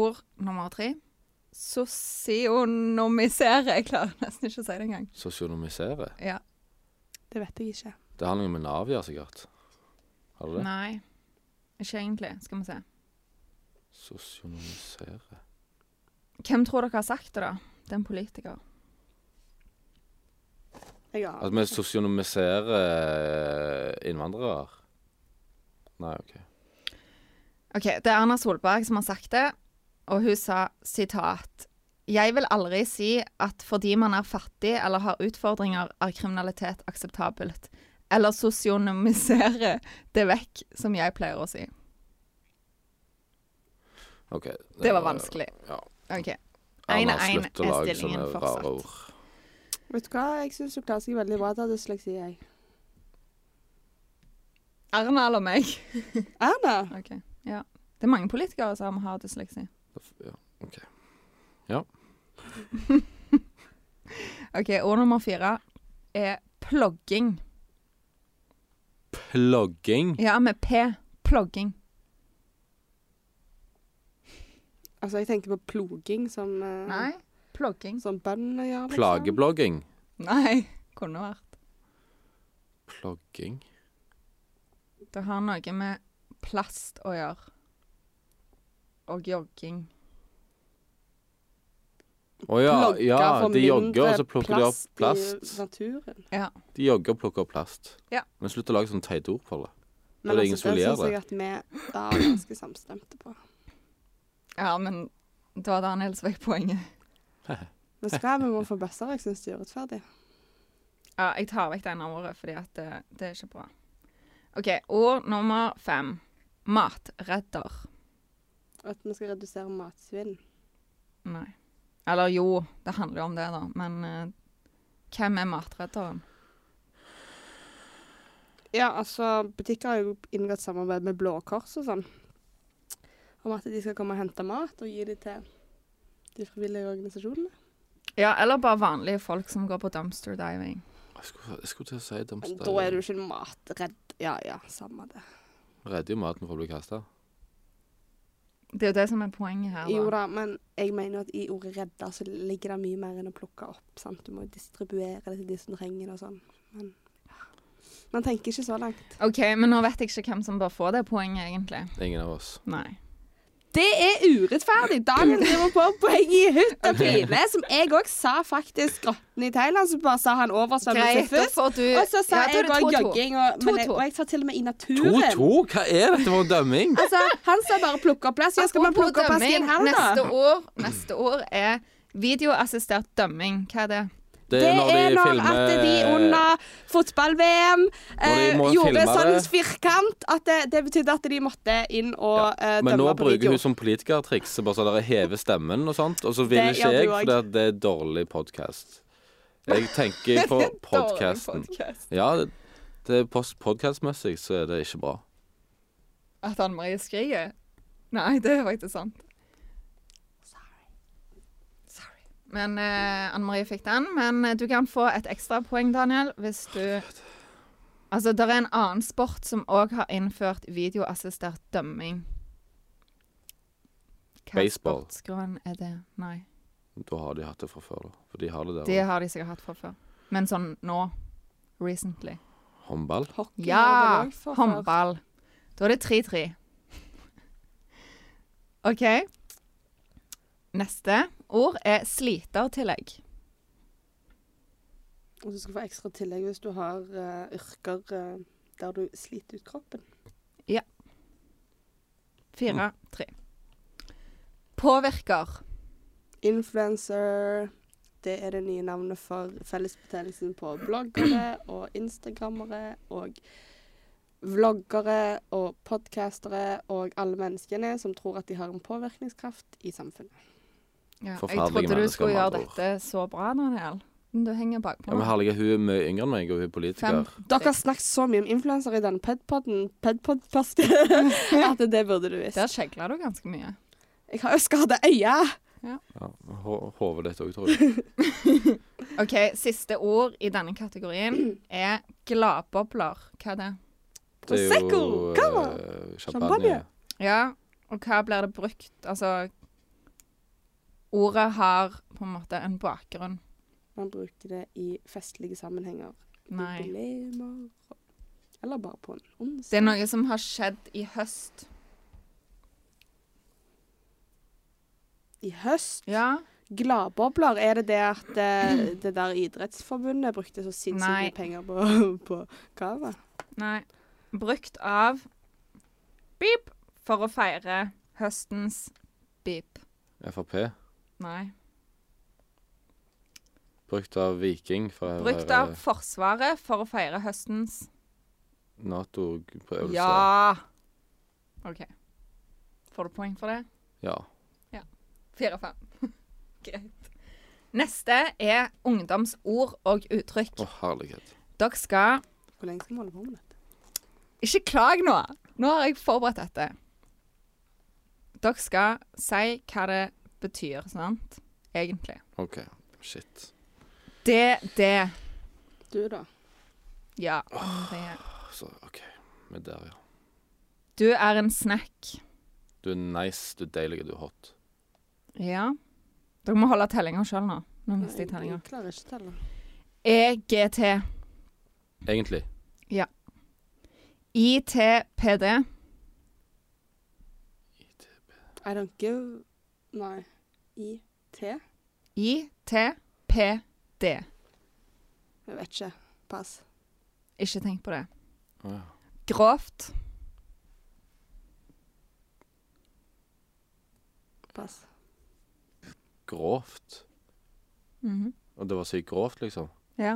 S1: Ord nummer tre. Sosionomisere. Jeg klarer nesten ikke å si det engang.
S2: Sosionomisere.
S1: Ja.
S3: Det vet jeg ikke.
S2: Det har noe med Nav å gjøre, sikkert. Har du det?
S1: Nei. Ikke egentlig. Skal vi se.
S2: Sosionomisere
S1: Hvem tror dere har sagt det, da? Det er en politiker.
S3: Jeg aner.
S2: At vi sosionomiserer eh, innvandrere? Nei, OK.
S1: OK, det er Erna Solberg som har sagt det, og hun sa sitat Jeg vil aldri si at fordi man er fattig eller har utfordringer, er kriminalitet akseptabelt. Eller sosionomisere det vekk, som jeg pleier å si.
S2: Ok,
S1: Det var vanskelig.
S2: Eh, ja.
S1: OK. En
S2: Erna,
S1: av en
S2: slutt å
S1: er
S2: lage sånne
S1: stillingen fortsatt.
S2: rare ord.
S3: Vet du hva, jeg syns du klarer seg veldig bra til dysleksi, jeg.
S1: Erna eller meg?
S3: Erna!
S1: Ok, ja. Det er mange politikere som har dysleksi.
S2: Ja.
S1: OK, ord nummer fire er plogging.
S2: Plogging.
S1: Ja, med P. Plogging.
S3: Altså, jeg tenker på ploging som eh,
S1: Plogging.
S3: Som bøndene gjør, liksom.
S2: Plageblogging.
S1: Nei, kunne vært.
S2: Plogging.
S1: Det har noe med plast å gjøre. Og jogging.
S2: Å ja,
S3: Plogger
S2: ja,
S3: for
S2: de jogger, og
S3: mindre
S2: så plukker de opp plast.
S3: i sånn- naturen.
S2: De jogger og plukker opp plast.
S1: Ja.
S2: Men slutt å lage sånne teite ord på det.
S3: Men
S2: det
S3: det
S2: ingen
S3: altså,
S2: som
S3: det
S2: gjør
S3: syns jeg at vi da er ganske samstemte på.
S1: Ja, men da hadde Daniel vekk poenget.
S3: Men skal vi må få bøsser, jeg syns det er urettferdig.
S1: Ja, jeg tar vekk det ene ordet, fordi at det, det er ikke bra. OK, ord nummer fem. Matredder.
S3: At vi skal redusere matsvinn.
S1: Nei. Eller jo, det handler jo om det, da. Men eh, hvem er matredderen?
S3: Ja, altså, butikker har jo inngått samarbeid med Blå Kors og sånn. Om at de skal komme og hente mat og gi det til de frivillige organisasjonene.
S1: Ja, eller bare vanlige folk som går på dumpster diving.
S2: Jeg skulle, jeg skulle til å si
S3: Men
S2: dumpster.
S3: da er du ikke matredd. Ja ja, samme det.
S2: Redder jo maten fra å bli kasta.
S1: Det er jo det som er poenget her.
S3: Jo
S1: Da.
S3: da, men jeg mener at i ordet 'redde' så ligger det mye mer enn å plukke opp. sant? Du må distribuere det til de som trenger det og sånn. Men man tenker ikke så langt.
S1: OK, men nå vet jeg ikke hvem som bør få det poenget, egentlig.
S2: Ingen av oss.
S1: Nei.
S3: Det er urettferdig! Daniel driver på poeng i hytt og pine, som jeg òg sa faktisk grotten i Thailand, så bare sa han oversvømmelse
S1: Greit, da
S3: først.
S1: får du
S3: Og så sa
S1: Ja, da er
S3: jeg
S1: det
S3: bare
S1: 2-2.
S3: jogging, og, men jeg,
S1: 2-2.
S3: og jeg sa til og med i naturen.
S2: 2-2? Hva er dette for en dømming?
S3: Altså, han sa bare 'plukke opp plass'. Ja, skal man
S1: Apropos
S3: plukke opp plass i en
S1: dømming,
S3: helg,
S1: Neste
S3: da?
S1: år, neste år er videoassistert dømming. Hva er det?
S2: Det
S3: Det er når at de under fotball-VM
S2: Når de
S3: eh,
S2: må
S3: gjorde
S2: filme
S3: sånn
S2: det.
S3: firkant at det, det betydde at de måtte inn og eh,
S2: Men nå
S3: dømme på
S2: bruker
S3: video.
S2: hun som politikertriks så bare sånn der heve stemmen og sånt, og så vil
S3: Det
S2: ikke
S3: gjør
S2: jeg,
S3: du også.
S2: for det, det er dårlig podkast. Jeg tenker på podkasten.
S1: Dårlig podcast.
S2: Ja, det, det er podkastmessig så er det ikke bra.
S1: At Anne Marie skriker? Nei, det er faktisk sant. Sorry. Men eh, Anne Marie fikk den. Men eh, du kan få et ekstra poeng, Daniel, hvis du Altså, det er en annen sport som òg har innført videoassistert dømming. Hva
S2: Baseball.
S1: sportsgren er det? Nei.
S2: Da har de hatt det fra før, da. For de har det der.
S1: Det har de sikkert hatt fra før. Men sånn nå, recently.
S2: Håndball.
S3: Hockey
S1: Ja,
S3: har det vel også fra før.
S1: Håndball. Da er det 3-3. OK. Neste ord er slitertillegg.
S3: Og du skal få ekstra tillegg hvis du har eh, yrker eh, der du sliter ut kroppen.
S1: Fire,
S2: Mm.
S1: tre. Påvirker.
S3: Influencer, det er det nye navnet for fellesbetegnelsen på bloggere og instagrammere og vloggere og podcastere og alle menneskene som tror at de har en påvirkningskraft i samfunnet.
S1: Ja, jeg
S2: Forferdelige
S1: trodde du
S2: mennesker,
S1: skulle
S2: med
S1: gjøre
S2: andre ord.
S1: dette så bra, Daniel. Men Du henger bakpå.
S2: Ja, men herlige, hun er mye yngre enn meg, og hun er politiker.
S3: Dere har snakket så mye om influensere i denne E pedpodden, pedpodkasten, at det burde du visst.
S1: Der skjegla du ganske mye.
S3: Jeg har jo skada øya.
S2: Ja, ho- Hodet ditt òg, tror jeg.
S1: OK, siste ord i denne kategorien er gladbobler. Hva er det?
S2: Det er jo
S3: Prosecco, cava,
S2: eh, champagne.
S3: champagne.
S1: Ja, og hva blir det brukt? Altså Ordet har på en måte en bakgrunn.
S3: Man bruker det i festlige sammenhenger.
S1: Nei.
S3: Jubileumer. Eller bare på en onsdag.
S1: Det er noe som har skjedd i høst.
S3: I høst.
S1: Ja.
S3: Gladbobler. Er det det at eh, det der idrettsforbundet brukte så sinnssykt
S1: Nei.
S3: mye penger på, på gave?
S1: Nei. Brukt av Beep for å feire høstens beep.
S2: Frp.
S1: Nei.
S2: Brukt av Viking eh, for å
S1: Brukt av Forsvaret for å feire høstens
S2: Nato-øvelser.
S1: Ja! OK. Får du poeng for det?
S2: ja.
S1: Fire-fem. Greit. Neste er ungdomsord og uttrykk.
S2: Å, herlighet.
S1: Dere skal
S3: Hvor lenge skal vi holde på med dette?
S1: Ikke klag nå! Nå har jeg forberedt dette. Dere skal si hva det betyr, sant? Egentlig.
S2: OK. Shit.
S1: Det, det.
S3: Du, da?
S1: Ja. Det.
S2: Så, OK. Vi er der, ja.
S1: Du er en snack.
S2: Du er nice, du er deilig, du er hot.
S1: Ja. Dere må holde tellinga sjøl nå. Nå mister jeg
S3: Nei,
S1: tellinga. E
S3: jeg klarer ikke å telle.
S1: EGT.
S2: Egentlig.
S1: ITPD.
S3: I don't give Nei. I T? Jeg
S1: ITPD.
S3: vet ikke. Pass.
S1: Ikke tenk på det.
S2: Å, ja.
S1: Grovt.
S3: Pass.
S2: Grovt. Og det var sykt grovt, liksom.
S1: Ja.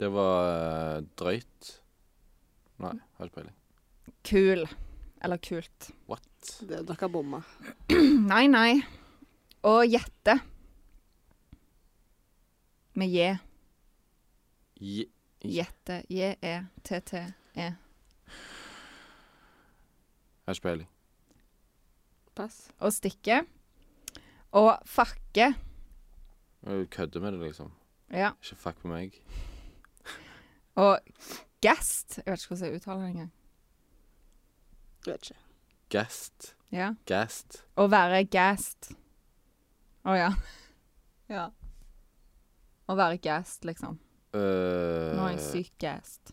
S2: Det var eh, drøyt. Nei, har ikke peiling.
S1: Kul. Eller kult.
S2: What?
S3: Det, dere bomma.
S1: Nei, nei. Og gjette. Med J.
S2: Je
S1: Gjette. J-e-t-t-e.
S2: har ikke peiling.
S3: Pass.
S1: Og stikke. Og fakke.
S2: Du kødder med det, liksom.
S1: Ja.
S2: Ikke fuck med meg.
S1: Og gast. Jeg vet ikke hvordan jeg uttaler det engang.
S3: Jeg vet ikke.
S2: Gast.
S1: Ja.
S2: Gast.
S1: Å være gast. Å ja. ja. Å være gast, liksom.
S2: Øh,
S1: Nå er jeg syk gast.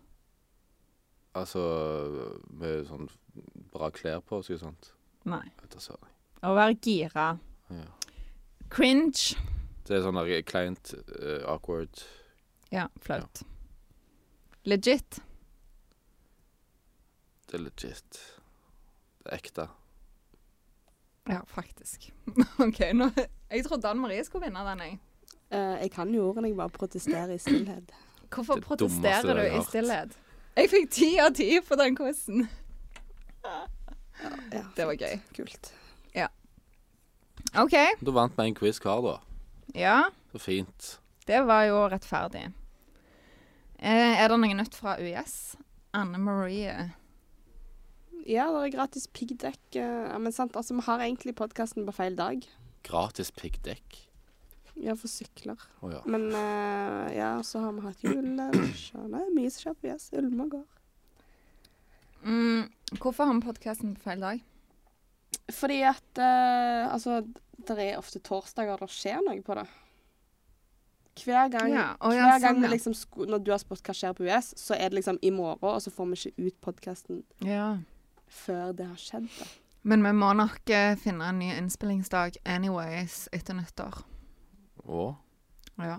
S2: Altså med sånn bra klær på og sånt.
S1: Nei.
S2: Vet du søren.
S1: Å være gira.
S2: Ja.
S1: Cringe.
S2: Det er sånn der kleint, eh, awkward
S1: Ja, flaut. Legit.
S2: Det er legit. Det er ekte.
S1: Ja, faktisk. OK, nå Jeg trodde Anne Marie skulle vinne den, jeg.
S3: Eh, jeg kan jo ordene, jeg bare protesterer i stillhet.
S1: Hvorfor
S2: Det dummeste
S1: protesterer
S2: jeg
S1: du
S2: har
S1: i
S2: hørt.
S1: stillhet? Jeg fikk ti av ti på den quizen.
S3: Ja,
S1: Det var
S3: fint.
S1: gøy.
S3: Kult.
S1: OK.
S2: Da vant vi en quiz hver, da.
S1: Ja,
S2: Så fint.
S1: det var jo rettferdig. Eh, er det noe nytt fra UiS? Anne Marie.
S3: Ja, det er gratis piggdekk. eh, Ja, men sant, altså, vi har egentlig podkasten på feil dag.
S2: Gratis piggdekk.
S3: Ja, for sykler.
S2: Å ja.
S3: Men eh, ja, så har vi hatt julelunsjer. Nei, mye som skjer på Yes. Ulma gård.
S1: Mm, hvorfor har vi podkasten på feil dag?
S3: Fordi at eh, altså, det er ofte torsdager det skjer noe på det. Hver gang,
S1: Ja, å, ja,
S3: hver gang
S1: sånn,
S3: vi
S1: ja.
S3: liksom sko når du har spurt hva skjer på US, så er det liksom i morgen, og så får vi ikke ut podkasten
S1: Ja.
S3: før det har skjedd. da.
S1: Men vi må nok eh, finne en ny innspillingsdag anyways etter nyttår.
S2: Å?
S1: Ja.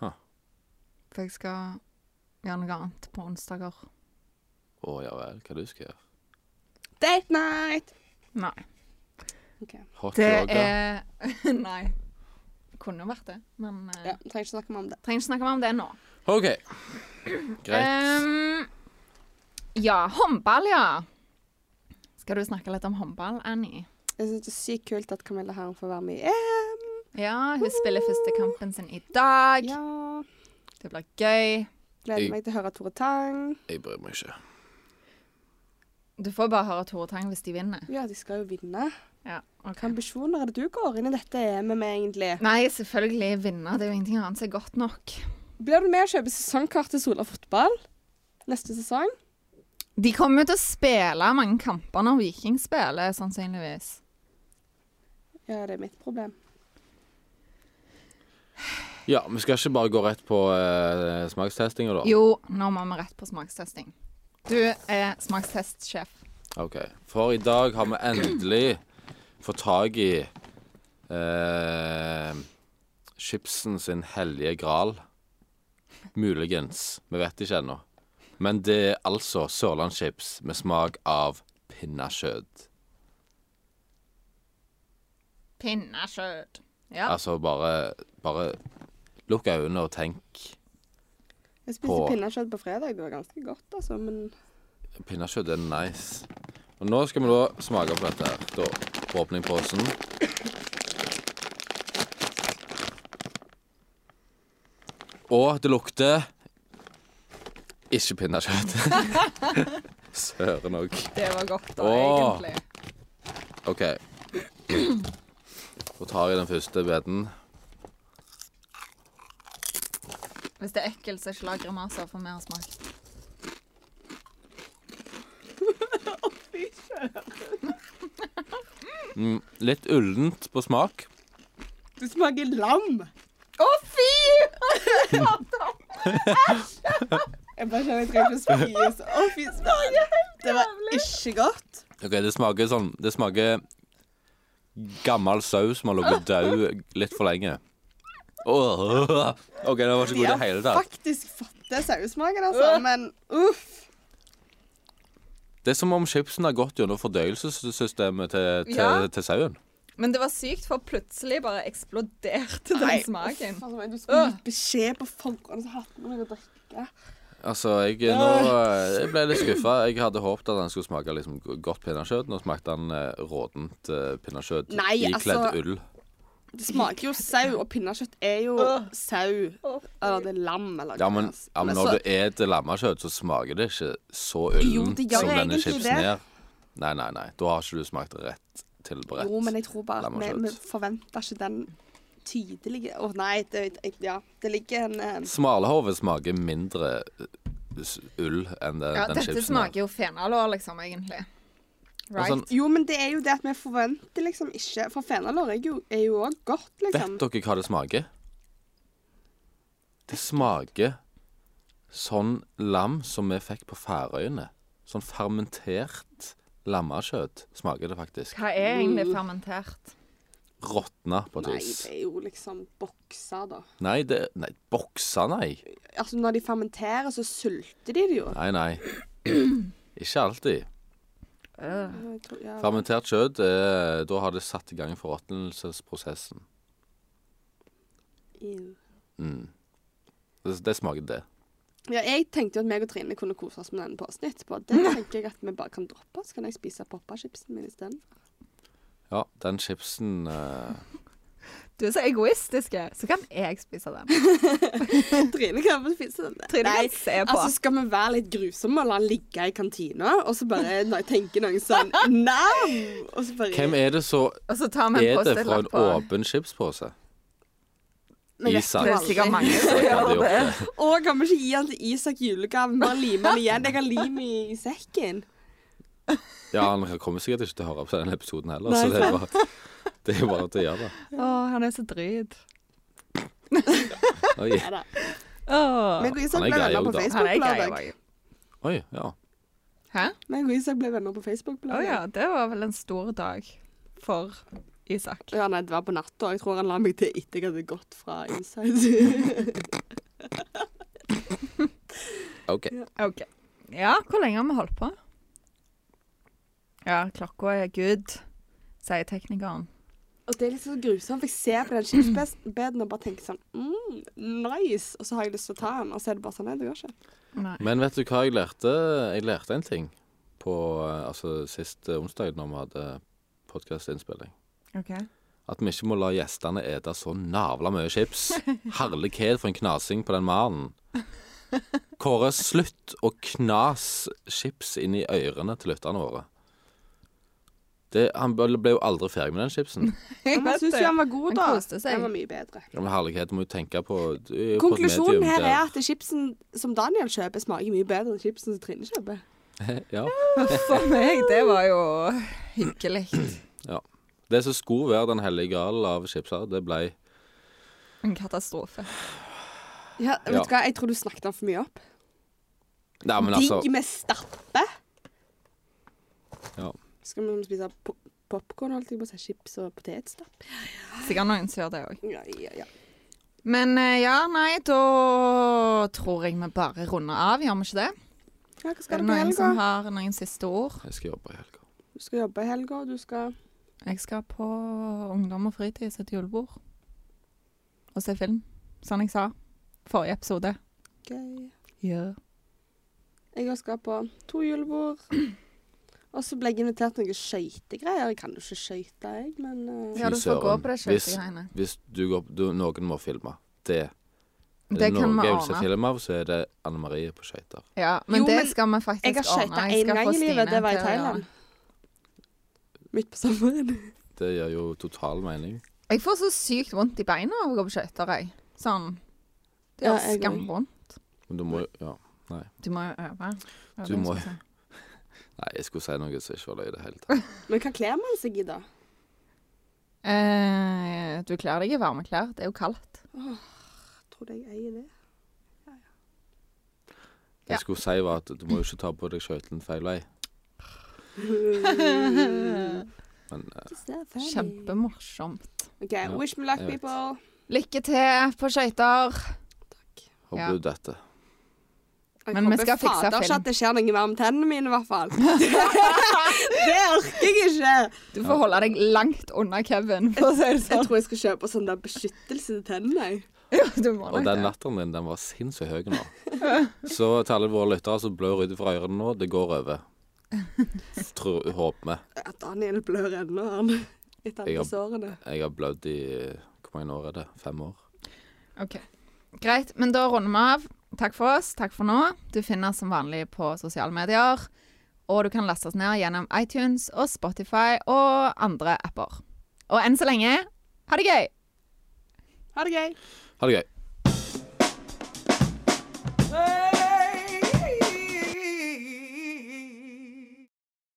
S2: Huh.
S1: For jeg skal gjøre noe annet på onsdager.
S2: Å ja vel, hva du skal gjøre?
S3: Date night!
S1: Nei.
S2: Hot
S1: Det
S2: yoga?
S1: er Nei. Kunne jo vært det, men eh,
S3: Ja, Trenger ikke snakke mer om det.
S1: trenger ikke snakke mer om det nå.
S2: OK. Greit.
S1: Ehm, ja, håndball, ja. Skal du snakke litt om håndball, Annie?
S3: Jeg synes det er sykt kult at Camilla Herren får være med i EM.
S1: Ja, hun spiller første kampen sin i dag.
S3: Ja.
S1: Det blir gøy.
S2: Jeg-
S3: Gleder meg til å høre Tore Tang.
S2: Jeg bryr meg ikke.
S1: Du får bare høre Tore Tang hvis de vinner.
S3: Ja, de skal jo vinne.
S1: Ja, ok.
S3: Hvilke ambisjoner er det du går inn i dette EM-et med, egentlig?
S1: Nei, selvfølgelig vinne. Det er jo ingenting annet som er godt nok.
S3: Blir du med å kjøpe sesongkart til Sola fotball neste sesong?
S1: De kommer jo til å spille mange kamper når Viking spiller, sannsynligvis.
S3: Ja, det er mitt problem.
S2: Ja, vi skal ikke bare gå rett på uh, smakstestinga, da?
S1: Jo, nå må vi rett på smakstesting. Du er smakstestsjef.
S2: OK. For i dag har vi endelig fått tak i eh, chipsen sin hellige gral. Muligens. Vi vet ikke ennå. Men det er altså sørlandschips med smak av pinnekjøtt.
S1: Pinnekjøtt. Ja.
S2: Altså bare Bare lukk øynene og tenk.
S3: Jeg
S2: På-
S3: spiste pinnekjøtt på fredag. Det var ganske godt, altså, men
S2: Pinnekjøtt er nice. Og nå skal vi da smake på dette. her. Da åpner jeg posen. Og det lukter ikke pinnekjøtt. Søren òg.
S1: Det var godt, da,
S2: Åh.
S1: egentlig.
S2: OK. Da tar jeg den første biten.
S1: Hvis det er ekkelt, så ikke lag grimaser, for vi har smakt.
S2: Mm, litt ullent på smak.
S3: Du smaker lam!
S1: Å, fy!
S3: Jeg bare kjenner jeg trenger ikke å spise. Å, fy søren. Det var ikke godt.
S2: Ok, det smaker sånn Det smaker gammel saus som har ligget død litt for lenge. Åh, OK, det var ikke god i det hele tatt.
S3: faktisk fått det sauesmaken, altså, men uff.
S2: Det er som om chipsen har gått gjennom fordøyelsessystemet til, til,
S1: Ja.
S2: til sauen.
S1: Men det var sykt, for plutselig bare eksploderte den
S3: Nei.
S1: smaken.
S3: Altså, men du skulle gitt beskjed på forhånd, så hadde vi noe å drikke.
S2: Altså, jeg, nå, eh, jeg ble litt skuffa. Jeg hadde håpet at den skulle smake liksom godt pinnekjøtt. Nå smakte den eh, rådent eh, pinnekjøtt
S3: Nei,
S2: ikledd
S3: altså-
S2: ull.
S3: Det smaker jo sau, og pinnekjøtt er jo sau. Eller det er lam, eller
S2: Ja, men,
S3: hva.
S2: ja,
S3: så-
S2: men når du spiser lammekjøtt, så smaker det ikke så
S3: Jo,
S2: ullent
S3: det gjør
S2: som denne
S3: egentlig
S2: chipsen
S3: det.
S2: her. Nei, nei, nei. Da har ikke du smakt rett til på rett.
S3: Jo, men jeg tror bare at vi,
S2: Lammekjøtt.
S3: vi forventer ikke den tydelige Å nei, det, jeg- ja, det ligger en eh,
S2: Smalahove smaker mindre eh, s- ull enn det,
S1: Ja,
S2: den
S1: dette
S2: chipsen. her.
S1: smaker jo fenalår, liksom, egentlig.
S2: Og
S1: Right?
S2: sånn,
S3: Jo, men det er jo det at vi forventer liksom ikke For fenalår er jo- er jo òg godt, liksom.
S2: vet dere hva det smaker? Det smaker sånn lam som vi fikk på Færøyene. Sånn fermentert lammekjøtt smaker det faktisk.
S1: Hva er egentlig fermentert?
S2: Råtna på et
S3: Nei,
S2: vis.
S3: det er jo liksom bokser, da.
S2: Nei, det Nei, boksa, nei.
S3: Altså, når de fermenterer, så sulter de det jo.
S2: Nei, nei. Ikke alltid.
S1: Øh.
S3: Jeg tror- Ja,
S2: Fermentert kjøtt, eh, da har det satt i gang forråtnelsesprosessen.
S3: ew.
S2: Mm. Det, det smaker det.
S3: ja, jeg tenkte jo at meg og Trine kunne kose oss med denne posen etterpå. Det tenker jeg at vi bare kan droppe, så kan jeg spise poppa-chipsen min isteden.
S2: Ja, den chipsen eh,
S1: Du er så egoistisk, jeg. så kan jeg spise den.
S3: Trine kan få spise den.
S1: Trine
S3: Nei,
S1: kan se på.
S3: Altså, skal vi være litt grusomme og la den ligge i kantina, og så bare når jeg tenker noen sånn Nam! Og så bare
S2: Hvem er det så
S1: Og så tar vi altså, en
S2: Er det fra
S1: Post-It-lapp
S2: en
S1: på.
S2: åpen chipspose?
S3: Men vet du
S2: Isak.
S3: hva?
S1: Det er sikkert mange som gjør det.
S3: Å, kan vi ikke gi den til Isak julegave? Bare lime den igjen. Jeg har lim i, i sekken.
S2: Ja, han kommer sikkert ikke til å høre på denne episoden heller,
S3: Nei,
S2: så det er bare, det er bare til å gjøre det.
S1: Å, han er så dryg.
S2: Oi.
S3: Neida.
S1: Åh.
S3: Meg og Isak
S2: Han er
S3: ble
S2: grei
S3: venner
S2: også,
S3: på Facebook
S1: Han er
S2: da.
S3: på
S1: grei
S3: lørdag.
S1: også.
S2: Oi, ja.
S1: Hæ?
S3: Meg og Isak ble venner på Facebook på
S1: Å
S3: lørdag.
S1: ja, det var vel en stor dag for Isak.
S3: Ja, nei, det var på natta, og jeg tror han la meg til etter jeg hadde gått fra Inside.
S2: OK.
S1: OK. Ja, hvor lenge har vi holdt på? Ja, klokka er good, sier teknikeren.
S3: og det er litt så grusomt, for jeg ser på den chipsbeden og bare tenker sånn mm, Nice! Og så har jeg lyst til å ta den, og så er det bare sånn Nei, det går ikke.
S1: Nei.
S2: Men vet du hva jeg lærte? Jeg lærte en ting på eh, altså, sist eh, onsdag når vi hadde podkastinnspilling.
S1: OK.
S2: At vi ikke må la gjestene ete så navla mye chips. Herlighet for en knasing på den mannen. Kåre, slutt å knas chips inn i ørene til lytterne våre. Det, han ble ble jo aldri ferdig med den chipsen.
S3: Men jeg syns jo han var god,
S1: Han
S3: da.
S1: koste seg.
S3: Den var mye bedre.
S2: Ja, men herlighet, må jo tenke på du er jo på et medium
S3: Konklusjonen her er
S2: der-
S3: at chipsen som Daniel kjøper, smaker mye bedre enn chipsen som Trine kjøper.
S2: ja.
S1: For meg, det var jo hyggelig.
S2: Det som skulle være den hellige galen av chipser, det ble
S1: En katastrofe.
S3: Ja, vet
S2: Ja.
S3: du hva, jeg tror du snakket han for mye opp.
S2: Nei, men altså
S3: Digg med stappe.
S2: Ja.
S3: Skal vi spise po popkorn og alt, jeg må si chips og potetstapp?
S1: Sikkert noen som gjør det òg.
S3: Ja, ja, ja.
S1: Men eh, ja, nei, da tror jeg vi bare runder av, gjør vi ikke det?
S3: Ja, hva
S1: Er
S3: skal
S1: det
S3: du på
S1: noen som
S3: helga?
S1: har noen siste ord?
S2: Jeg skal jobbe i helga.
S3: Du skal jobbe i helga, og du skal
S1: Jeg skal på Ungdom og fritid sitt julebord og se film. Sånn jeg sa forrige episode.
S3: Gøy.
S1: Ja.
S3: Jeg også skal på to julebord. Og så ble jeg invitert til noen skøytegreier. Jeg kan jo ikke skøyte, jeg, men eh,
S1: Ja, du
S2: Fy
S1: får gå
S2: søren.
S1: på det
S2: Hvis-
S1: skøytegreiene.
S2: Hvis du går du, Noen må filme. Det er
S1: Det kan
S2: noe
S1: vi
S2: jeg vil se
S1: ordne.
S2: film av, så er det Anne Marie på skøyter.
S1: Ja, men
S3: Jo,
S1: det
S3: men
S1: skal vi faktisk
S3: Jeg har
S1: ordne.
S3: skøyta
S1: skal
S3: én gang
S1: få
S3: i
S1: Stine
S3: livet. Det var i
S1: til å gjøre
S3: Thailand.
S1: det.
S3: Midt på sommeren.
S2: Det gjør jo total mening.
S1: Jeg får så sykt vondt i beina av å gå på skøyter, jeg. Sånn. Det
S3: Ja,
S1: gjør
S3: jeg går.
S1: skamvondt.
S2: Men du må jo ja.
S1: Du må jo øve.
S2: Du må- Nei, jeg skulle si noe som ikke var løye i det hele tatt.
S3: Men hva kler man seg i, da?
S1: Eh, du kler deg i varme klær. Det er jo kaldt.
S3: Tror du jeg eier det?
S1: Ja.
S2: Jeg skulle si var at du må jo ikke ta på deg skøytene feil vei. Men eh,
S3: Is that funny?
S1: Kjempemorsomt.
S3: OK, wish me luck,
S2: jeg vet.
S3: people.
S1: Lykke til på skøyter.
S2: håper
S1: Ja.
S2: du dette.
S3: Jeg
S1: Men vi
S3: håper
S1: skal fikse
S3: fader
S1: film.
S3: ikke at det skjer noe mer med tennene mine, i hvert fall. det orker jeg ikke.
S1: Du får holde deg langt unna Kevin, for å si det
S3: Jeg
S1: sånn.
S3: tror jeg skal kjøpe sånn der beskyttelse til tennene. jeg.
S1: Ja, du må
S2: Og
S1: nok
S2: den
S1: det.
S2: latteren din, den var sinnssykt høy nå. Så til alle våre lyttere som blør ut fra ørene nå, det går over. Tror, håper vi.
S3: At Daniel blør ennå, han. Etter
S2: Jeg
S3: alle
S2: har-
S3: sårene.
S2: Jeg har blødd i Hvor mange år er det? Fem år?
S1: OK. Greit, men da runder vi av. Takk for oss. Takk for nå. Du finner oss som vanlig på sosiale medier. Og du kan laste oss ned gjennom iTunes og Spotify og andre apper. Og enn så lenge ha det gøy!
S3: Ha det gøy.
S2: Ha det gøy.
S3: Hey!